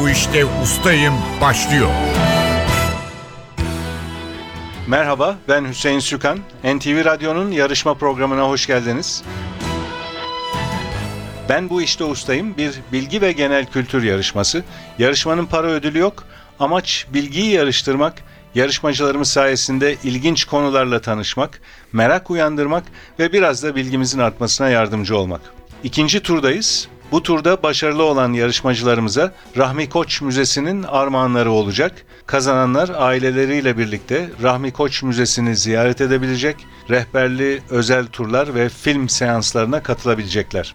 bu işte ustayım başlıyor. Merhaba, ben Hüseyin Sükan. NTV Radyo'nun yarışma programına hoş geldiniz. Ben bu işte ustayım. Bir bilgi ve genel kültür yarışması. Yarışmanın para ödülü yok. Amaç bilgiyi yarıştırmak, yarışmacılarımız sayesinde ilginç konularla tanışmak, merak uyandırmak ve biraz da bilgimizin artmasına yardımcı olmak. İkinci turdayız. Bu turda başarılı olan yarışmacılarımıza Rahmi Koç Müzesi'nin armağanları olacak. Kazananlar aileleriyle birlikte Rahmi Koç Müzesi'ni ziyaret edebilecek, rehberli özel turlar ve film seanslarına katılabilecekler.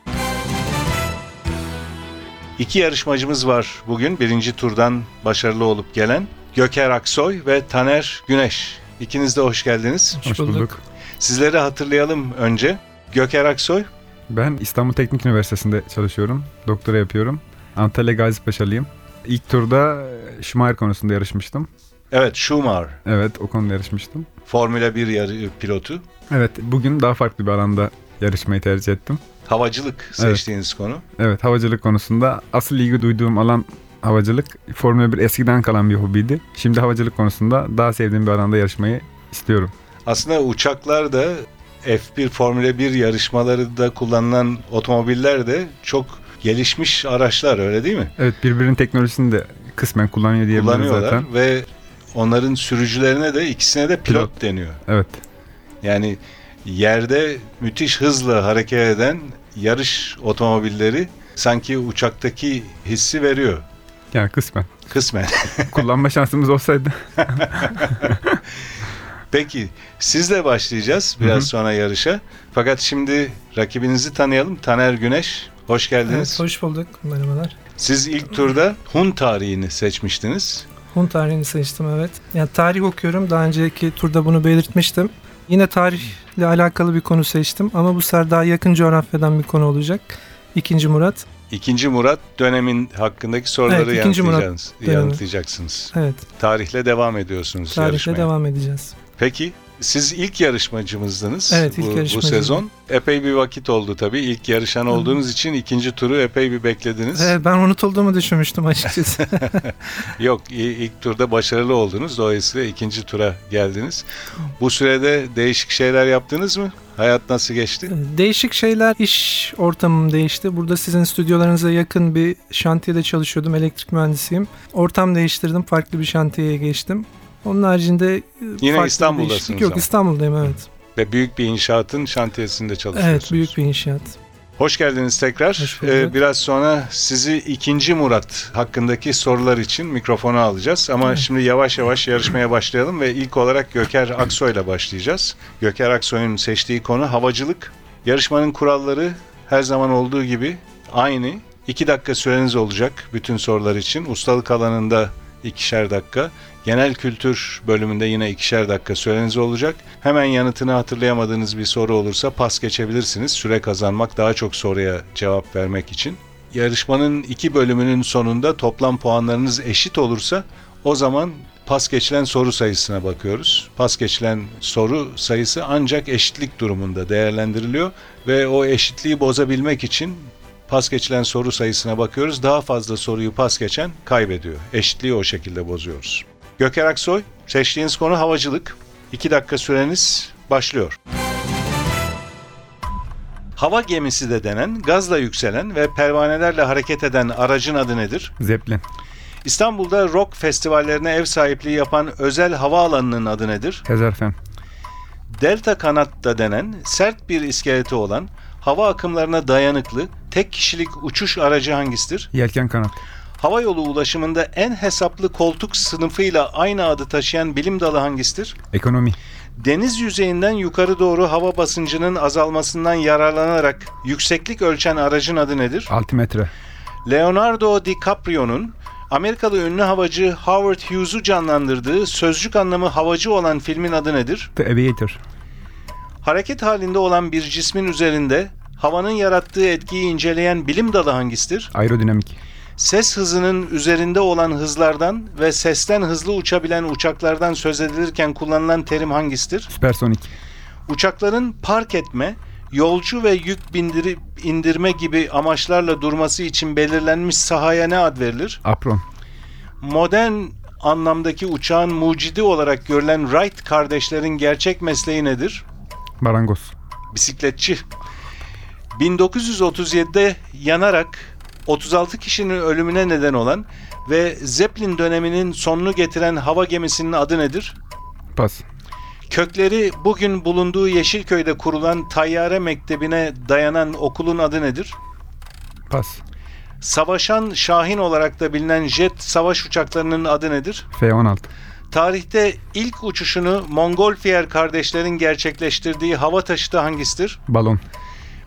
İki yarışmacımız var bugün birinci turdan başarılı olup gelen. Göker Aksoy ve Taner Güneş. İkiniz de hoş geldiniz. Hoş bulduk. Sizleri hatırlayalım önce. Göker Aksoy, Ben İstanbul Teknik Üniversitesi'nde çalışıyorum. Doktora yapıyorum. Antalya Gazi Paşalıyım. İlk turda Schumacher konusunda yarışmıştım. evet Schumacher, Evet o konuda yarışmıştım. Formula 1 yarı pilotu. Evet bugün daha farklı bir alanda yarışmayı tercih ettim. Havacılık seçtiğiniz konu. Evet havacılık konusunda asıl ilgi duyduğum alan havacılık. Formula 1 eskiden kalan bir hobiydi. Şimdi havacılık konusunda daha sevdiğim bir alanda yarışmayı istiyorum. Aslında uçaklar da F1 Formula 1 yarışmaları da kullanılan otomobiller de çok gelişmiş araçlar öyle değil mi? Evet birbirinin teknolojisini de kısmen kullanıyor diyebiliriz Kullanıyorlar zaten. ve onların sürücülerine de ikisine de pilot Pilot. deniyor. Evet. Yani yerde müthiş hızla hareket eden yarış otomobilleri sanki uçaktaki hissi veriyor Yani kısmen. kısmen. Kullanma şansımız olsaydı Peki sizle başlayacağız biraz Hı hı. sonra yarışa. Fakat şimdi rakibinizi tanıyalım. Taner Güneş hoş geldiniz. Evet, hoş bulduk. Merhabalar. Siz ilk turda Hun tarihini seçmiştiniz. Hun tarihini seçtim evet. Yani tarih okuyorum. Daha önceki turda bunu belirtmiştim. Yine tarihle alakalı bir konu seçtim ama bu sefer daha yakın coğrafyadan bir konu olacak. İkinci Murat. İkinci Murat dönemin hakkındaki soruları Evet, ikinci Murat yanıtlayacaksınız. dönemi. yanıtlayacaksınız. Evet, Tarihle devam ediyorsunuz tarihle Şey yarışmaya. devam edeceğiz. Peki siz ilk yarışmacımızdınız Evet, bu, ilk bu yarışmacıydım. sezon. Epey bir vakit oldu tabii. İlk yarışan olduğunuz için ikinci turu epey bir beklediniz. Evet, ben unutulduğumu düşünmüştüm açıkçası. Yok i- ilk turda başarılı oldunuz. Dolayısıyla ikinci tura geldiniz. Bu sürede değişik şeyler yaptınız mı? Hayat nasıl geçti? Değişik şeyler, iş ortamım değişti. Burada sizin stüdyolarınıza yakın bir şantiyede çalışıyordum. Elektrik mühendisiyim. Ortam değiştirdim, farklı bir şantiyeye geçtim. Onun haricinde e, farklı bir İstanbul'dasınız değişiklik Yok ama. İstanbul'dayım evet. Ve büyük bir inşaatın şantiyesinde çalışıyorsunuz. Evet büyük bir inşaat. Hoş geldiniz tekrar. Hoş bulduk. Ee, biraz sonra sizi ikinci Murat hakkındaki sorular için mikrofona alacağız. Ama Evet. şimdi yavaş yavaş yarışmaya başlayalım ve ilk olarak Göker Aksoy'la başlayacağız. Göker Aksoy'un seçtiği konu havacılık. Yarışmanın kuralları her zaman olduğu gibi aynı. 2 dakika süreniz olacak bütün sorular için. Ustalık alanında ikişer dakika. Genel kültür bölümünde yine ikişer dakika süreniz olacak. Hemen yanıtını hatırlayamadığınız bir soru olursa pas geçebilirsiniz. Süre kazanmak daha çok soruya cevap vermek için. Yarışmanın iki bölümünün sonunda toplam puanlarınız eşit olursa o zaman pas geçilen soru sayısına bakıyoruz. Pas geçilen soru sayısı ancak eşitlik durumunda değerlendiriliyor ve o eşitliği bozabilmek için pas geçilen soru sayısına bakıyoruz. Daha fazla soruyu pas geçen kaybediyor. Eşitliği o şekilde bozuyoruz. Göker Aksoy, seçtiğiniz konu havacılık. 2 dakika süreniz başlıyor. Hava gemisi de denen, gazla yükselen ve pervanelerle hareket eden aracın adı nedir? Zeplin. İstanbul'da rock festivallerine ev sahipliği yapan özel havaalanının adı nedir? Tezerfen. Delta kanat da denen sert bir iskeleti olan hava akımlarına dayanıklı tek kişilik uçuş aracı hangisidir? Yelken kanat. Hava yolu ulaşımında en hesaplı koltuk sınıfıyla aynı adı taşıyan bilim dalı hangisidir? Ekonomi. Deniz yüzeyinden yukarı doğru hava basıncının azalmasından yararlanarak yükseklik ölçen aracın adı nedir? Altimetre. Leonardo DiCaprio'nun Amerikalı ünlü havacı Howard Hughes'u canlandırdığı sözcük anlamı havacı olan filmin adı nedir? The Aviator. Hareket halinde olan bir cismin üzerinde havanın yarattığı etkiyi inceleyen bilim dalı hangisidir? Aerodinamik. Ses hızının üzerinde olan hızlardan ve sesten hızlı uçabilen uçaklardan söz edilirken kullanılan terim hangisidir? Süpersonik. Uçakların park etme, yolcu ve yük bindirip indirme gibi amaçlarla durması için belirlenmiş sahaya ne ad verilir? Apron. modern anlamdaki uçağın mucidi olarak görülen Wright kardeşlerin gerçek mesleği nedir? Marangoz. Bisikletçi. 1937'de yanarak 36 kişinin ölümüne neden olan ve Zeppelin döneminin sonunu getiren hava gemisinin adı nedir? Pas. Kökleri bugün bulunduğu Yeşilköy'de kurulan Tayyare Mektebi'ne dayanan okulun adı nedir? Pas. Savaşan Şahin olarak da bilinen jet savaş uçaklarının adı nedir? F-16. Tarihte ilk uçuşunu Montgolfier kardeşlerin gerçekleştirdiği hava taşıtı hangisidir? Balon.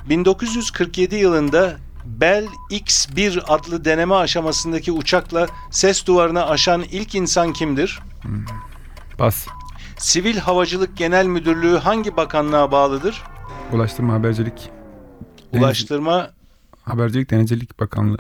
1947 yılında Bell X-1 adlı deneme aşamasındaki uçakla ses duvarını aşan ilk insan kimdir? Pas. Sivil Havacılık Genel Müdürlüğü hangi bakanlığa bağlıdır? Ulaştırma Habercilik. Ulaştırma Habercilik Denizcilik Bakanlığı.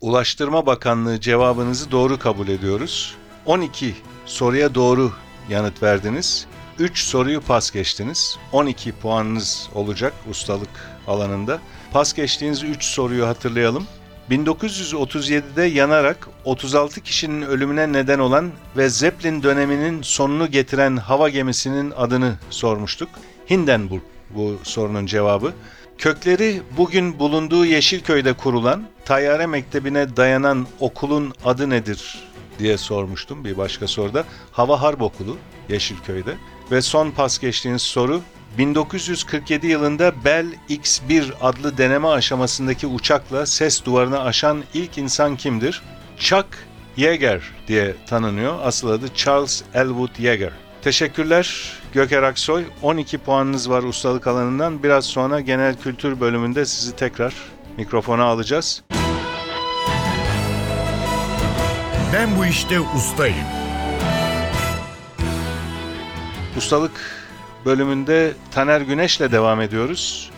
Ulaştırma Bakanlığı cevabınızı doğru kabul ediyoruz. 12 soruya doğru yanıt verdiniz. 3 soruyu pas geçtiniz. 12 puanınız olacak ustalık alanında. Pas geçtiğiniz 3 soruyu hatırlayalım. 1937'de yanarak 36 kişinin ölümüne neden olan ve Zeppelin döneminin sonunu getiren hava gemisinin adını sormuştuk. Hindenburg bu sorunun cevabı. Kökleri bugün bulunduğu Yeşilköy'de kurulan Tayyare Mektebi'ne dayanan okulun adı nedir diye sormuştum bir başka soruda. Hava Harp Okulu Yeşilköy'de. Ve son pas geçtiğiniz soru 1947 yılında Bell X-1 adlı deneme aşamasındaki uçakla ses duvarını aşan ilk insan kimdir? Chuck Yeager diye tanınıyor. Asıl adı Charles Elwood Yeager. Teşekkürler Göker Aksoy. 12 puanınız var ustalık alanından. Biraz sonra genel kültür bölümünde sizi tekrar mikrofona alacağız. Ben bu işte ustayım. Ustalık bölümünde Taner Güneş'le devam ediyoruz.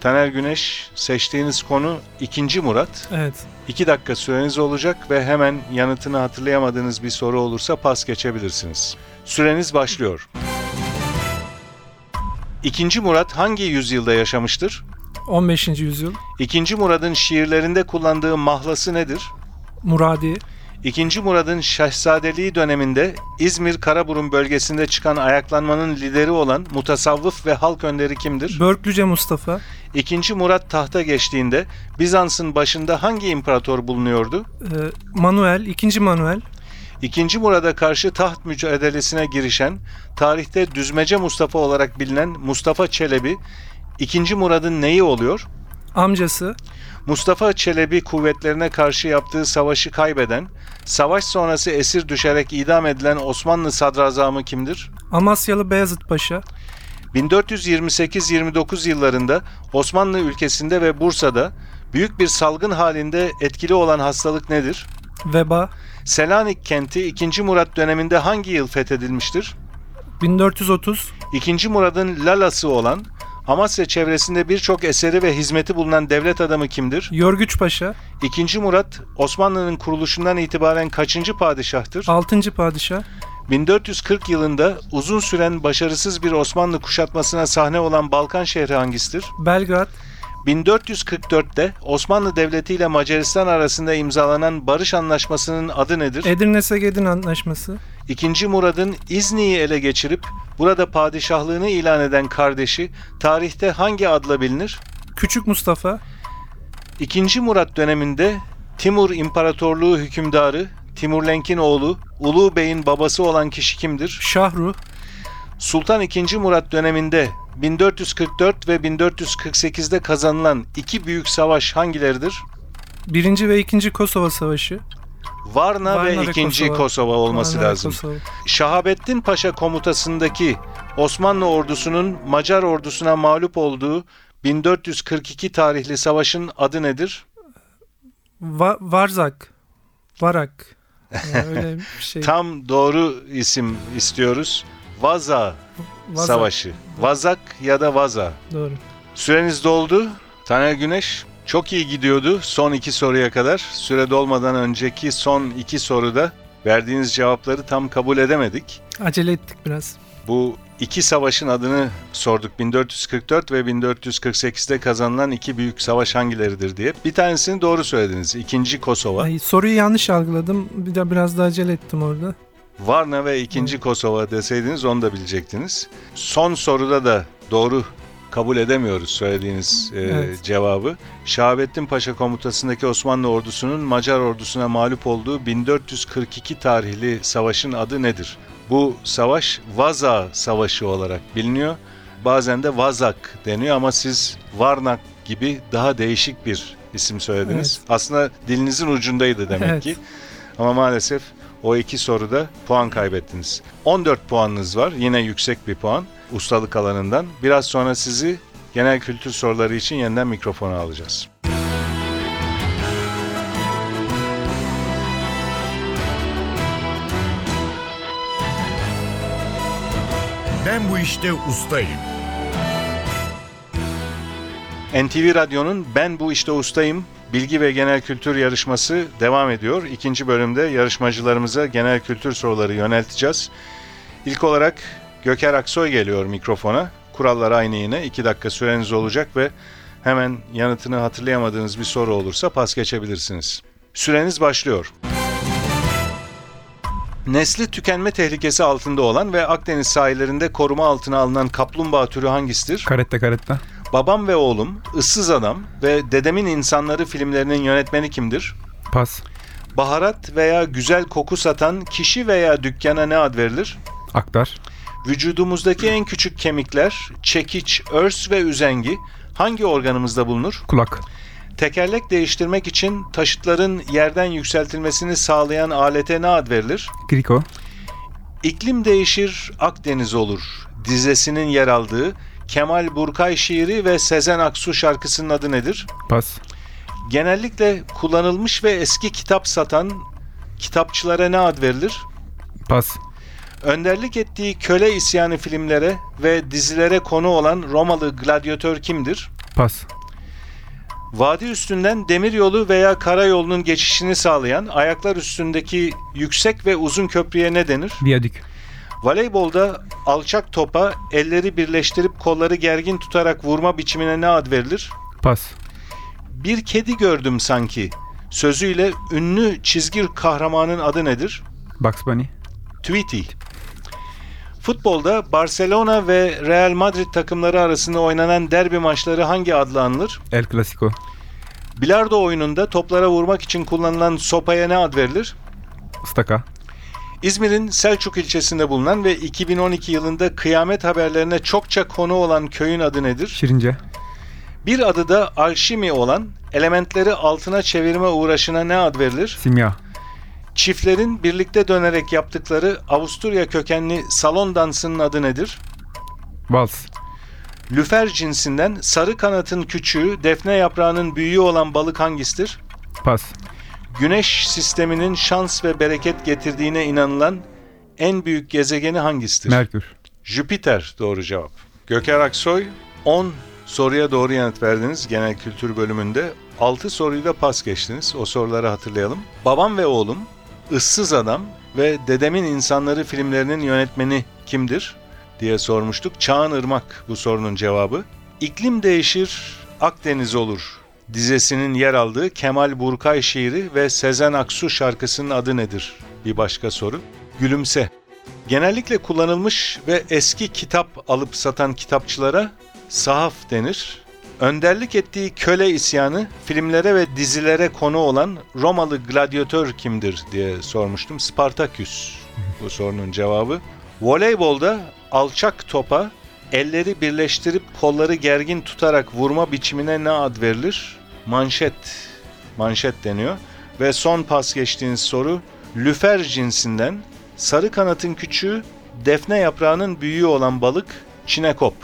Taner Güneş seçtiğiniz konu 2. Murat. Evet. 2 dakika süreniz olacak ve hemen yanıtını hatırlayamadığınız bir soru olursa pas geçebilirsiniz. Süreniz başlıyor. 2. Murat hangi yüzyılda yaşamıştır? 15. yüzyıl 2. Murad'ın şiirlerinde kullandığı mahlası nedir? Muradi 2. Murad'ın Şehzadeliği döneminde İzmir Karaburun bölgesinde çıkan ayaklanmanın lideri olan mutasavvıf ve halk önderi kimdir? Börklüce Mustafa 2. Murat tahta geçtiğinde Bizans'ın başında hangi imparator bulunuyordu? e, Manuel 2. Manuel 2. Murad'a karşı taht mücadelesine girişen, tarihte Düzmece Mustafa olarak bilinen Mustafa Çelebi, 2. Murad'ın neyi oluyor? amcası Mustafa Çelebi kuvvetlerine karşı yaptığı savaşı kaybeden, savaş sonrası esir düşerek idam edilen Osmanlı sadrazamı kimdir? Amasyalı Beyazıt Paşa 1428-29 yıllarında Osmanlı ülkesinde ve Bursa'da büyük bir salgın halinde etkili olan hastalık nedir? Veba Selanik kenti 2. Murat döneminde hangi yıl fethedilmiştir? 1430 2. Murad'ın lalası olan Amasya çevresinde birçok eseri ve hizmeti bulunan devlet adamı kimdir? Yörgüç Paşa 2. Murat Osmanlı'nın kuruluşundan itibaren kaçıncı padişahtır? 6. Padişah 1440 yılında uzun süren başarısız bir Osmanlı kuşatmasına sahne olan Balkan şehri hangisidir? Belgrad 1444'te Osmanlı Devleti ile Macaristan arasında imzalanan barış anlaşmasının adı nedir? Edirne Segedin Antlaşması İkinci Murad'ın İzni'yi ele geçirip burada padişahlığını ilan eden kardeşi tarihte hangi adla bilinir? Küçük Mustafa İkinci Murat döneminde Timur İmparatorluğu hükümdarı Timurlenk'in oğlu Ulu Bey'in babası olan kişi kimdir? Şahruh Sultan II. Murat döneminde 1444 ve 1448'de kazanılan iki büyük savaş hangileridir? 1. ve 2. Kosova Savaşı Varna, Varna ve ve 2. Kosova, Kosova. olması Varna ve lazım. Kosova. Şahabettin Paşa komutasındaki Osmanlı ordusunun Macar ordusuna mağlup olduğu 1442 tarihli savaşın adı nedir? Va- Varzak Varak yani öyle bir şey. Tam doğru isim istiyoruz. Vaza, Vazak, Savaşı. Vazak ya da Vaza. Doğru. Süreniz doldu. Taner Güneş çok iyi gidiyordu son iki soruya kadar. Süre dolmadan önceki son iki soruda verdiğiniz cevapları tam kabul edemedik. Acele ettik biraz. Bu iki savaşın adını sorduk. 1444 ve 1448'de kazanılan iki büyük savaş hangileridir diye. Bir tanesini doğru söylediniz. İkinci Kosova. Ay, soruyu yanlış algıladım. Bir de biraz da acele ettim orada. Varna ve ikinci Kosova deseydiniz onu da bilecektiniz. Son soruda da doğru kabul edemiyoruz söylediğiniz e, Evet. cevabı. Şahabettin Paşa komutasındaki Osmanlı ordusunun Macar ordusuna mağlup olduğu 1442 tarihli savaşın adı nedir? Bu savaş Vaza Savaşı olarak biliniyor. Bazen de Vazak deniyor ama siz Varnak gibi daha değişik bir isim söylediniz. Aslında dilinizin ucundaydı demek Evet. ki. Ama maalesef o iki soruda puan kaybettiniz. 14 puanınız var. Yine yüksek bir puan ustalık alanından. Biraz sonra sizi genel kültür soruları için yeniden mikrofona alacağız. Ben bu işte ustayım. NTV Radyo'nun Ben Bu İşte Ustayım bilgi ve genel kültür yarışması devam ediyor. İkinci bölümde yarışmacılarımıza genel kültür soruları yönelteceğiz. İlk olarak Göker Aksoy geliyor mikrofona. Kurallar aynı yine. 2 dakika süreniz olacak ve hemen yanıtını hatırlayamadığınız bir soru olursa pas geçebilirsiniz. Süreniz başlıyor. Nesli tükenme tehlikesi altında olan ve Akdeniz sahillerinde koruma altına alınan kaplumbağa türü hangisidir? Karette karette. Babam ve oğlum, Issız Adam ve Dedemin İnsanları filmlerinin yönetmeni kimdir? Pas. Baharat veya güzel koku satan kişi veya dükkana ne ad verilir? Aktar. Vücudumuzdaki en küçük kemikler, çekiç, örs ve üzengi hangi organımızda bulunur? Kulak. Tekerlek değiştirmek için taşıtların yerden yükseltilmesini sağlayan alete ne ad verilir? Kriko. İklim değişir, Akdeniz olur. Dizesinin yer aldığı Kemal Burkay şiiri ve Sezen Aksu şarkısının adı nedir? Pas. Genellikle kullanılmış ve eski kitap satan kitapçılara ne ad verilir? Pas. Önderlik ettiği köle isyanı filmlere ve dizilere konu olan Romalı gladyatör kimdir? Pas. Vadi üstünden demir yolu veya karayolunun geçişini sağlayan ayaklar üstündeki yüksek ve uzun köprüye ne denir? Viyadük. Voleybolda alçak topa elleri birleştirip kolları gergin tutarak vurma biçimine ne ad verilir? Pas. Bir kedi gördüm sanki. Sözüyle ünlü çizgi kahramanın adı nedir? Bugs Bunny. Tweety. Futbolda Barcelona ve Real Madrid takımları arasında oynanan derbi maçları hangi adla anılır? El Clasico. Bilardo oyununda toplara vurmak için kullanılan sopaya ne ad verilir? Staka. İzmir'in Selçuk ilçesinde bulunan ve 2012 yılında kıyamet haberlerine çokça konu olan köyün adı nedir? Şirince. Bir adı da alşimi olan, elementleri altına çevirme uğraşına ne ad verilir? Simya. Çiftlerin birlikte dönerek yaptıkları Avusturya kökenli salon dansının adı nedir? Vals. Lüfer cinsinden sarı kanatın küçüğü, defne yaprağının büyüğü olan balık hangisidir? Pas. Güneş sisteminin şans ve bereket getirdiğine inanılan en büyük gezegeni hangisidir? Merkür. Jüpiter doğru cevap. Göker Aksoy 10 soruya doğru yanıt verdiniz genel kültür bölümünde. 6 soruyu da pas geçtiniz. O soruları hatırlayalım. Babam ve oğlum, ıssız adam ve dedemin insanları filmlerinin yönetmeni kimdir diye sormuştuk. Çağan Irmak bu sorunun cevabı. İklim değişir, Akdeniz olur dizesinin yer aldığı Kemal Burkay şiiri ve Sezen Aksu şarkısının adı nedir? Bir başka soru. Gülümse. Genellikle kullanılmış ve eski kitap alıp satan kitapçılara sahaf denir. Önderlik ettiği köle isyanı filmlere ve dizilere konu olan Romalı gladyatör kimdir diye sormuştum. Spartaküs bu sorunun cevabı. Voleybolda alçak topa elleri birleştirip kolları gergin tutarak vurma biçimine ne ad verilir? Manşet. Manşet deniyor. Ve son pas geçtiğiniz soru lüfer cinsinden sarı kanatın küçüğü, defne yaprağının büyüğü olan balık çinekop.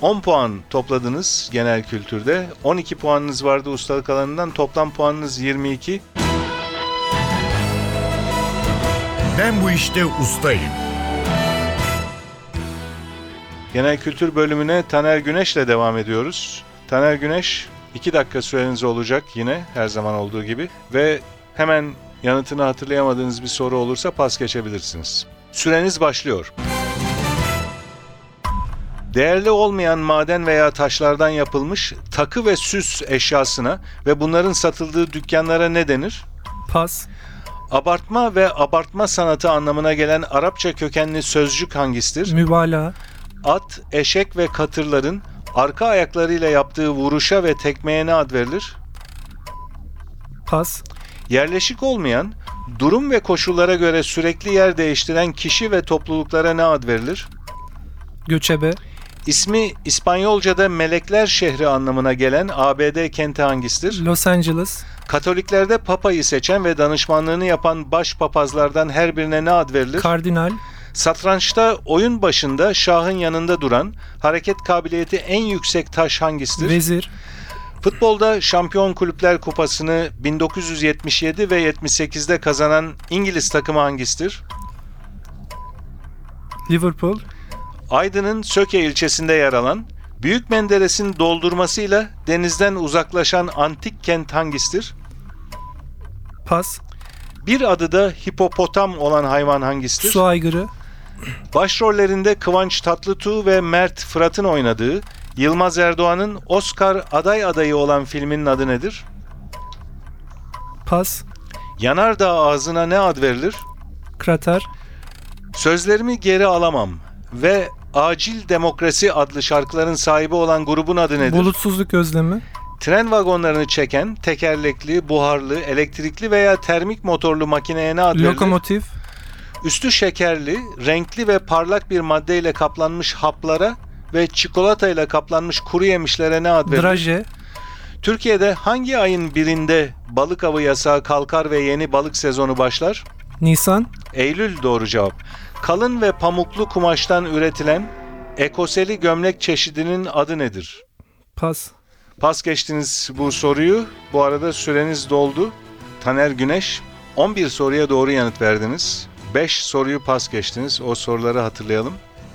10 puan topladınız genel kültürde. 12 puanınız vardı ustalık alanından. Toplam puanınız 22. Ben bu işte ustayım. Genel kültür bölümüne Taner Güneş'le devam ediyoruz. Taner Güneş 2 dakika süreniz olacak yine her zaman olduğu gibi ve hemen yanıtını hatırlayamadığınız bir soru olursa pas geçebilirsiniz. Süreniz başlıyor. Değerli olmayan maden veya taşlardan yapılmış takı ve süs eşyasına ve bunların satıldığı dükkanlara ne denir? Pas. Abartma ve abartma sanatı anlamına gelen Arapça kökenli sözcük hangisidir? Mübalağa. At, eşek ve katırların arka ayaklarıyla yaptığı vuruşa ve tekmeye ne ad verilir? Pas. Yerleşik olmayan, durum ve koşullara göre sürekli yer değiştiren kişi ve topluluklara ne ad verilir? Göçebe. İsmi İspanyolca'da melekler şehri anlamına gelen ABD kenti hangisidir? Los Angeles. Katoliklerde papayı seçen ve danışmanlığını yapan baş papazlardan her birine ne ad verilir? Kardinal. Satrançta oyun başında şahın yanında duran, hareket kabiliyeti en yüksek taş hangisidir? Vezir. Futbolda Şampiyon Kulüpler Kupası'nı 1977 ve 78'de kazanan İngiliz takımı hangisidir? Liverpool. Aydın'ın Söke ilçesinde yer alan, Büyük Menderes'in doldurmasıyla denizden uzaklaşan antik kent hangisidir? Pas. Bir adı da hipopotam olan hayvan hangisidir? Su aygırı. Başrollerinde Kıvanç Tatlıtuğ ve Mert Fırat'ın oynadığı Yılmaz Erdoğan'ın Oscar aday adayı olan filminin adı nedir? Pas. Yanardağ ağzına ne ad verilir? Krater. Sözlerimi geri alamam ve Acil Demokrasi adlı şarkıların sahibi olan grubun adı nedir? Bulutsuzluk özlemi. Tren vagonlarını çeken tekerlekli, buharlı, elektrikli veya termik motorlu makineye ne ad verilir? Lokomotif. Üstü şekerli, renkli ve parlak bir maddeyle kaplanmış haplara ve çikolatayla kaplanmış kuru yemişlere ne ad verilir? Draje. Türkiye'de hangi ayın birinde balık avı yasağı kalkar ve yeni balık sezonu başlar? Nisan. Eylül doğru cevap. Kalın ve pamuklu kumaştan üretilen ekoseli gömlek çeşidinin adı nedir? Pas. Pas geçtiniz bu soruyu. Bu arada süreniz doldu. Taner Güneş 11 soruya doğru yanıt verdiniz. 5 soruyu pas geçtiniz. O soruları hatırlayalım.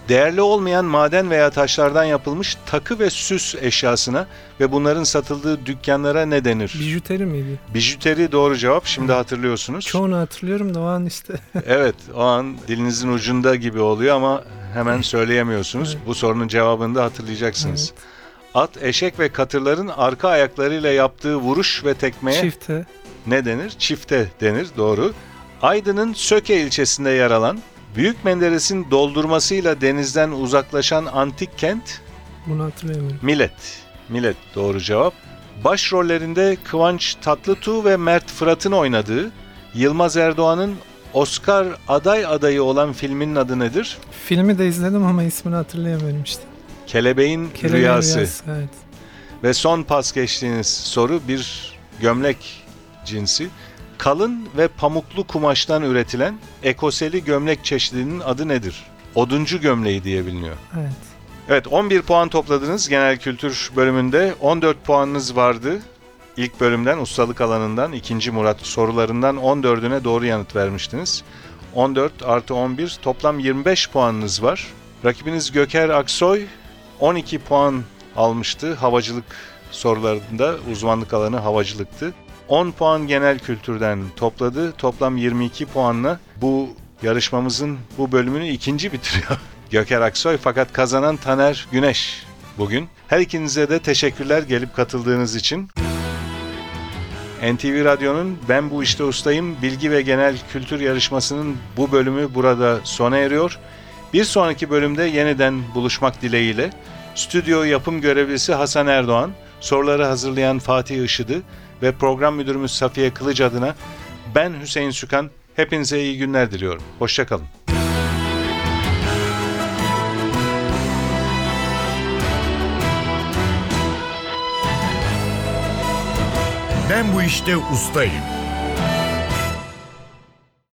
Değerli olmayan maden veya taşlardan yapılmış takı ve süs eşyasına ve bunların satıldığı dükkanlara ne denir? Bijuteri miydi? Bijuteri doğru cevap. Şimdi hatırlıyorsunuz. Çoğunu hatırlıyorum da o an işte. Evet o an dilinizin ucunda gibi oluyor ama hemen söyleyemiyorsunuz. Bu sorunun cevabını da hatırlayacaksınız. At, eşek ve katırların arka ayaklarıyla yaptığı vuruş ve tekmeye Çifte. ne denir? Çifte denir doğru. Aydın'ın Söke ilçesinde yer alan, Büyük Menderes'in doldurmasıyla denizden uzaklaşan antik kent Bunu hatırlayamıyorum. Millet. Millet doğru cevap. Başrollerinde Kıvanç Tatlıtuğ ve Mert Fırat'ın oynadığı Yılmaz Erdoğan'ın Oscar aday adayı olan filminin adı nedir? Filmi de izledim ama ismini hatırlayamıyorum işte. Kelebeğin, Kerem Rüyası. Rüyası, Evet. Ve son pas geçtiğiniz soru bir gömlek cinsi. Kalın ve pamuklu kumaştan üretilen ekoseli gömlek çeşidinin adı nedir? Oduncu gömleği diye biliniyor. Evet. Evet 11 puan topladınız genel kültür bölümünde. 14 puanınız vardı. İlk bölümden ustalık alanından ikinci Murat sorularından 14'üne doğru yanıt vermiştiniz. 14 artı 11 toplam 25 puanınız var. Rakibiniz Göker Aksoy 12 puan almıştı. Havacılık sorularında uzmanlık alanı havacılıktı. 10 puan genel kültürden topladı. Toplam 22 puanla bu yarışmamızın bu bölümünü ikinci bitiriyor. Göker Aksoy fakat kazanan Taner Güneş bugün. Her ikinize de teşekkürler gelip katıldığınız için. NTV Radyo'nun Ben Bu İşte Ustayım bilgi ve genel kültür yarışmasının bu bölümü burada sona eriyor. Bir sonraki bölümde yeniden buluşmak dileğiyle stüdyo yapım görevlisi Hasan Erdoğan, soruları hazırlayan Fatih Işıdı ve program müdürümüz Safiye Kılıç adına ben Hüseyin Sükan hepinize iyi günler diliyorum. Hoşçakalın. Ben bu işte ustayım.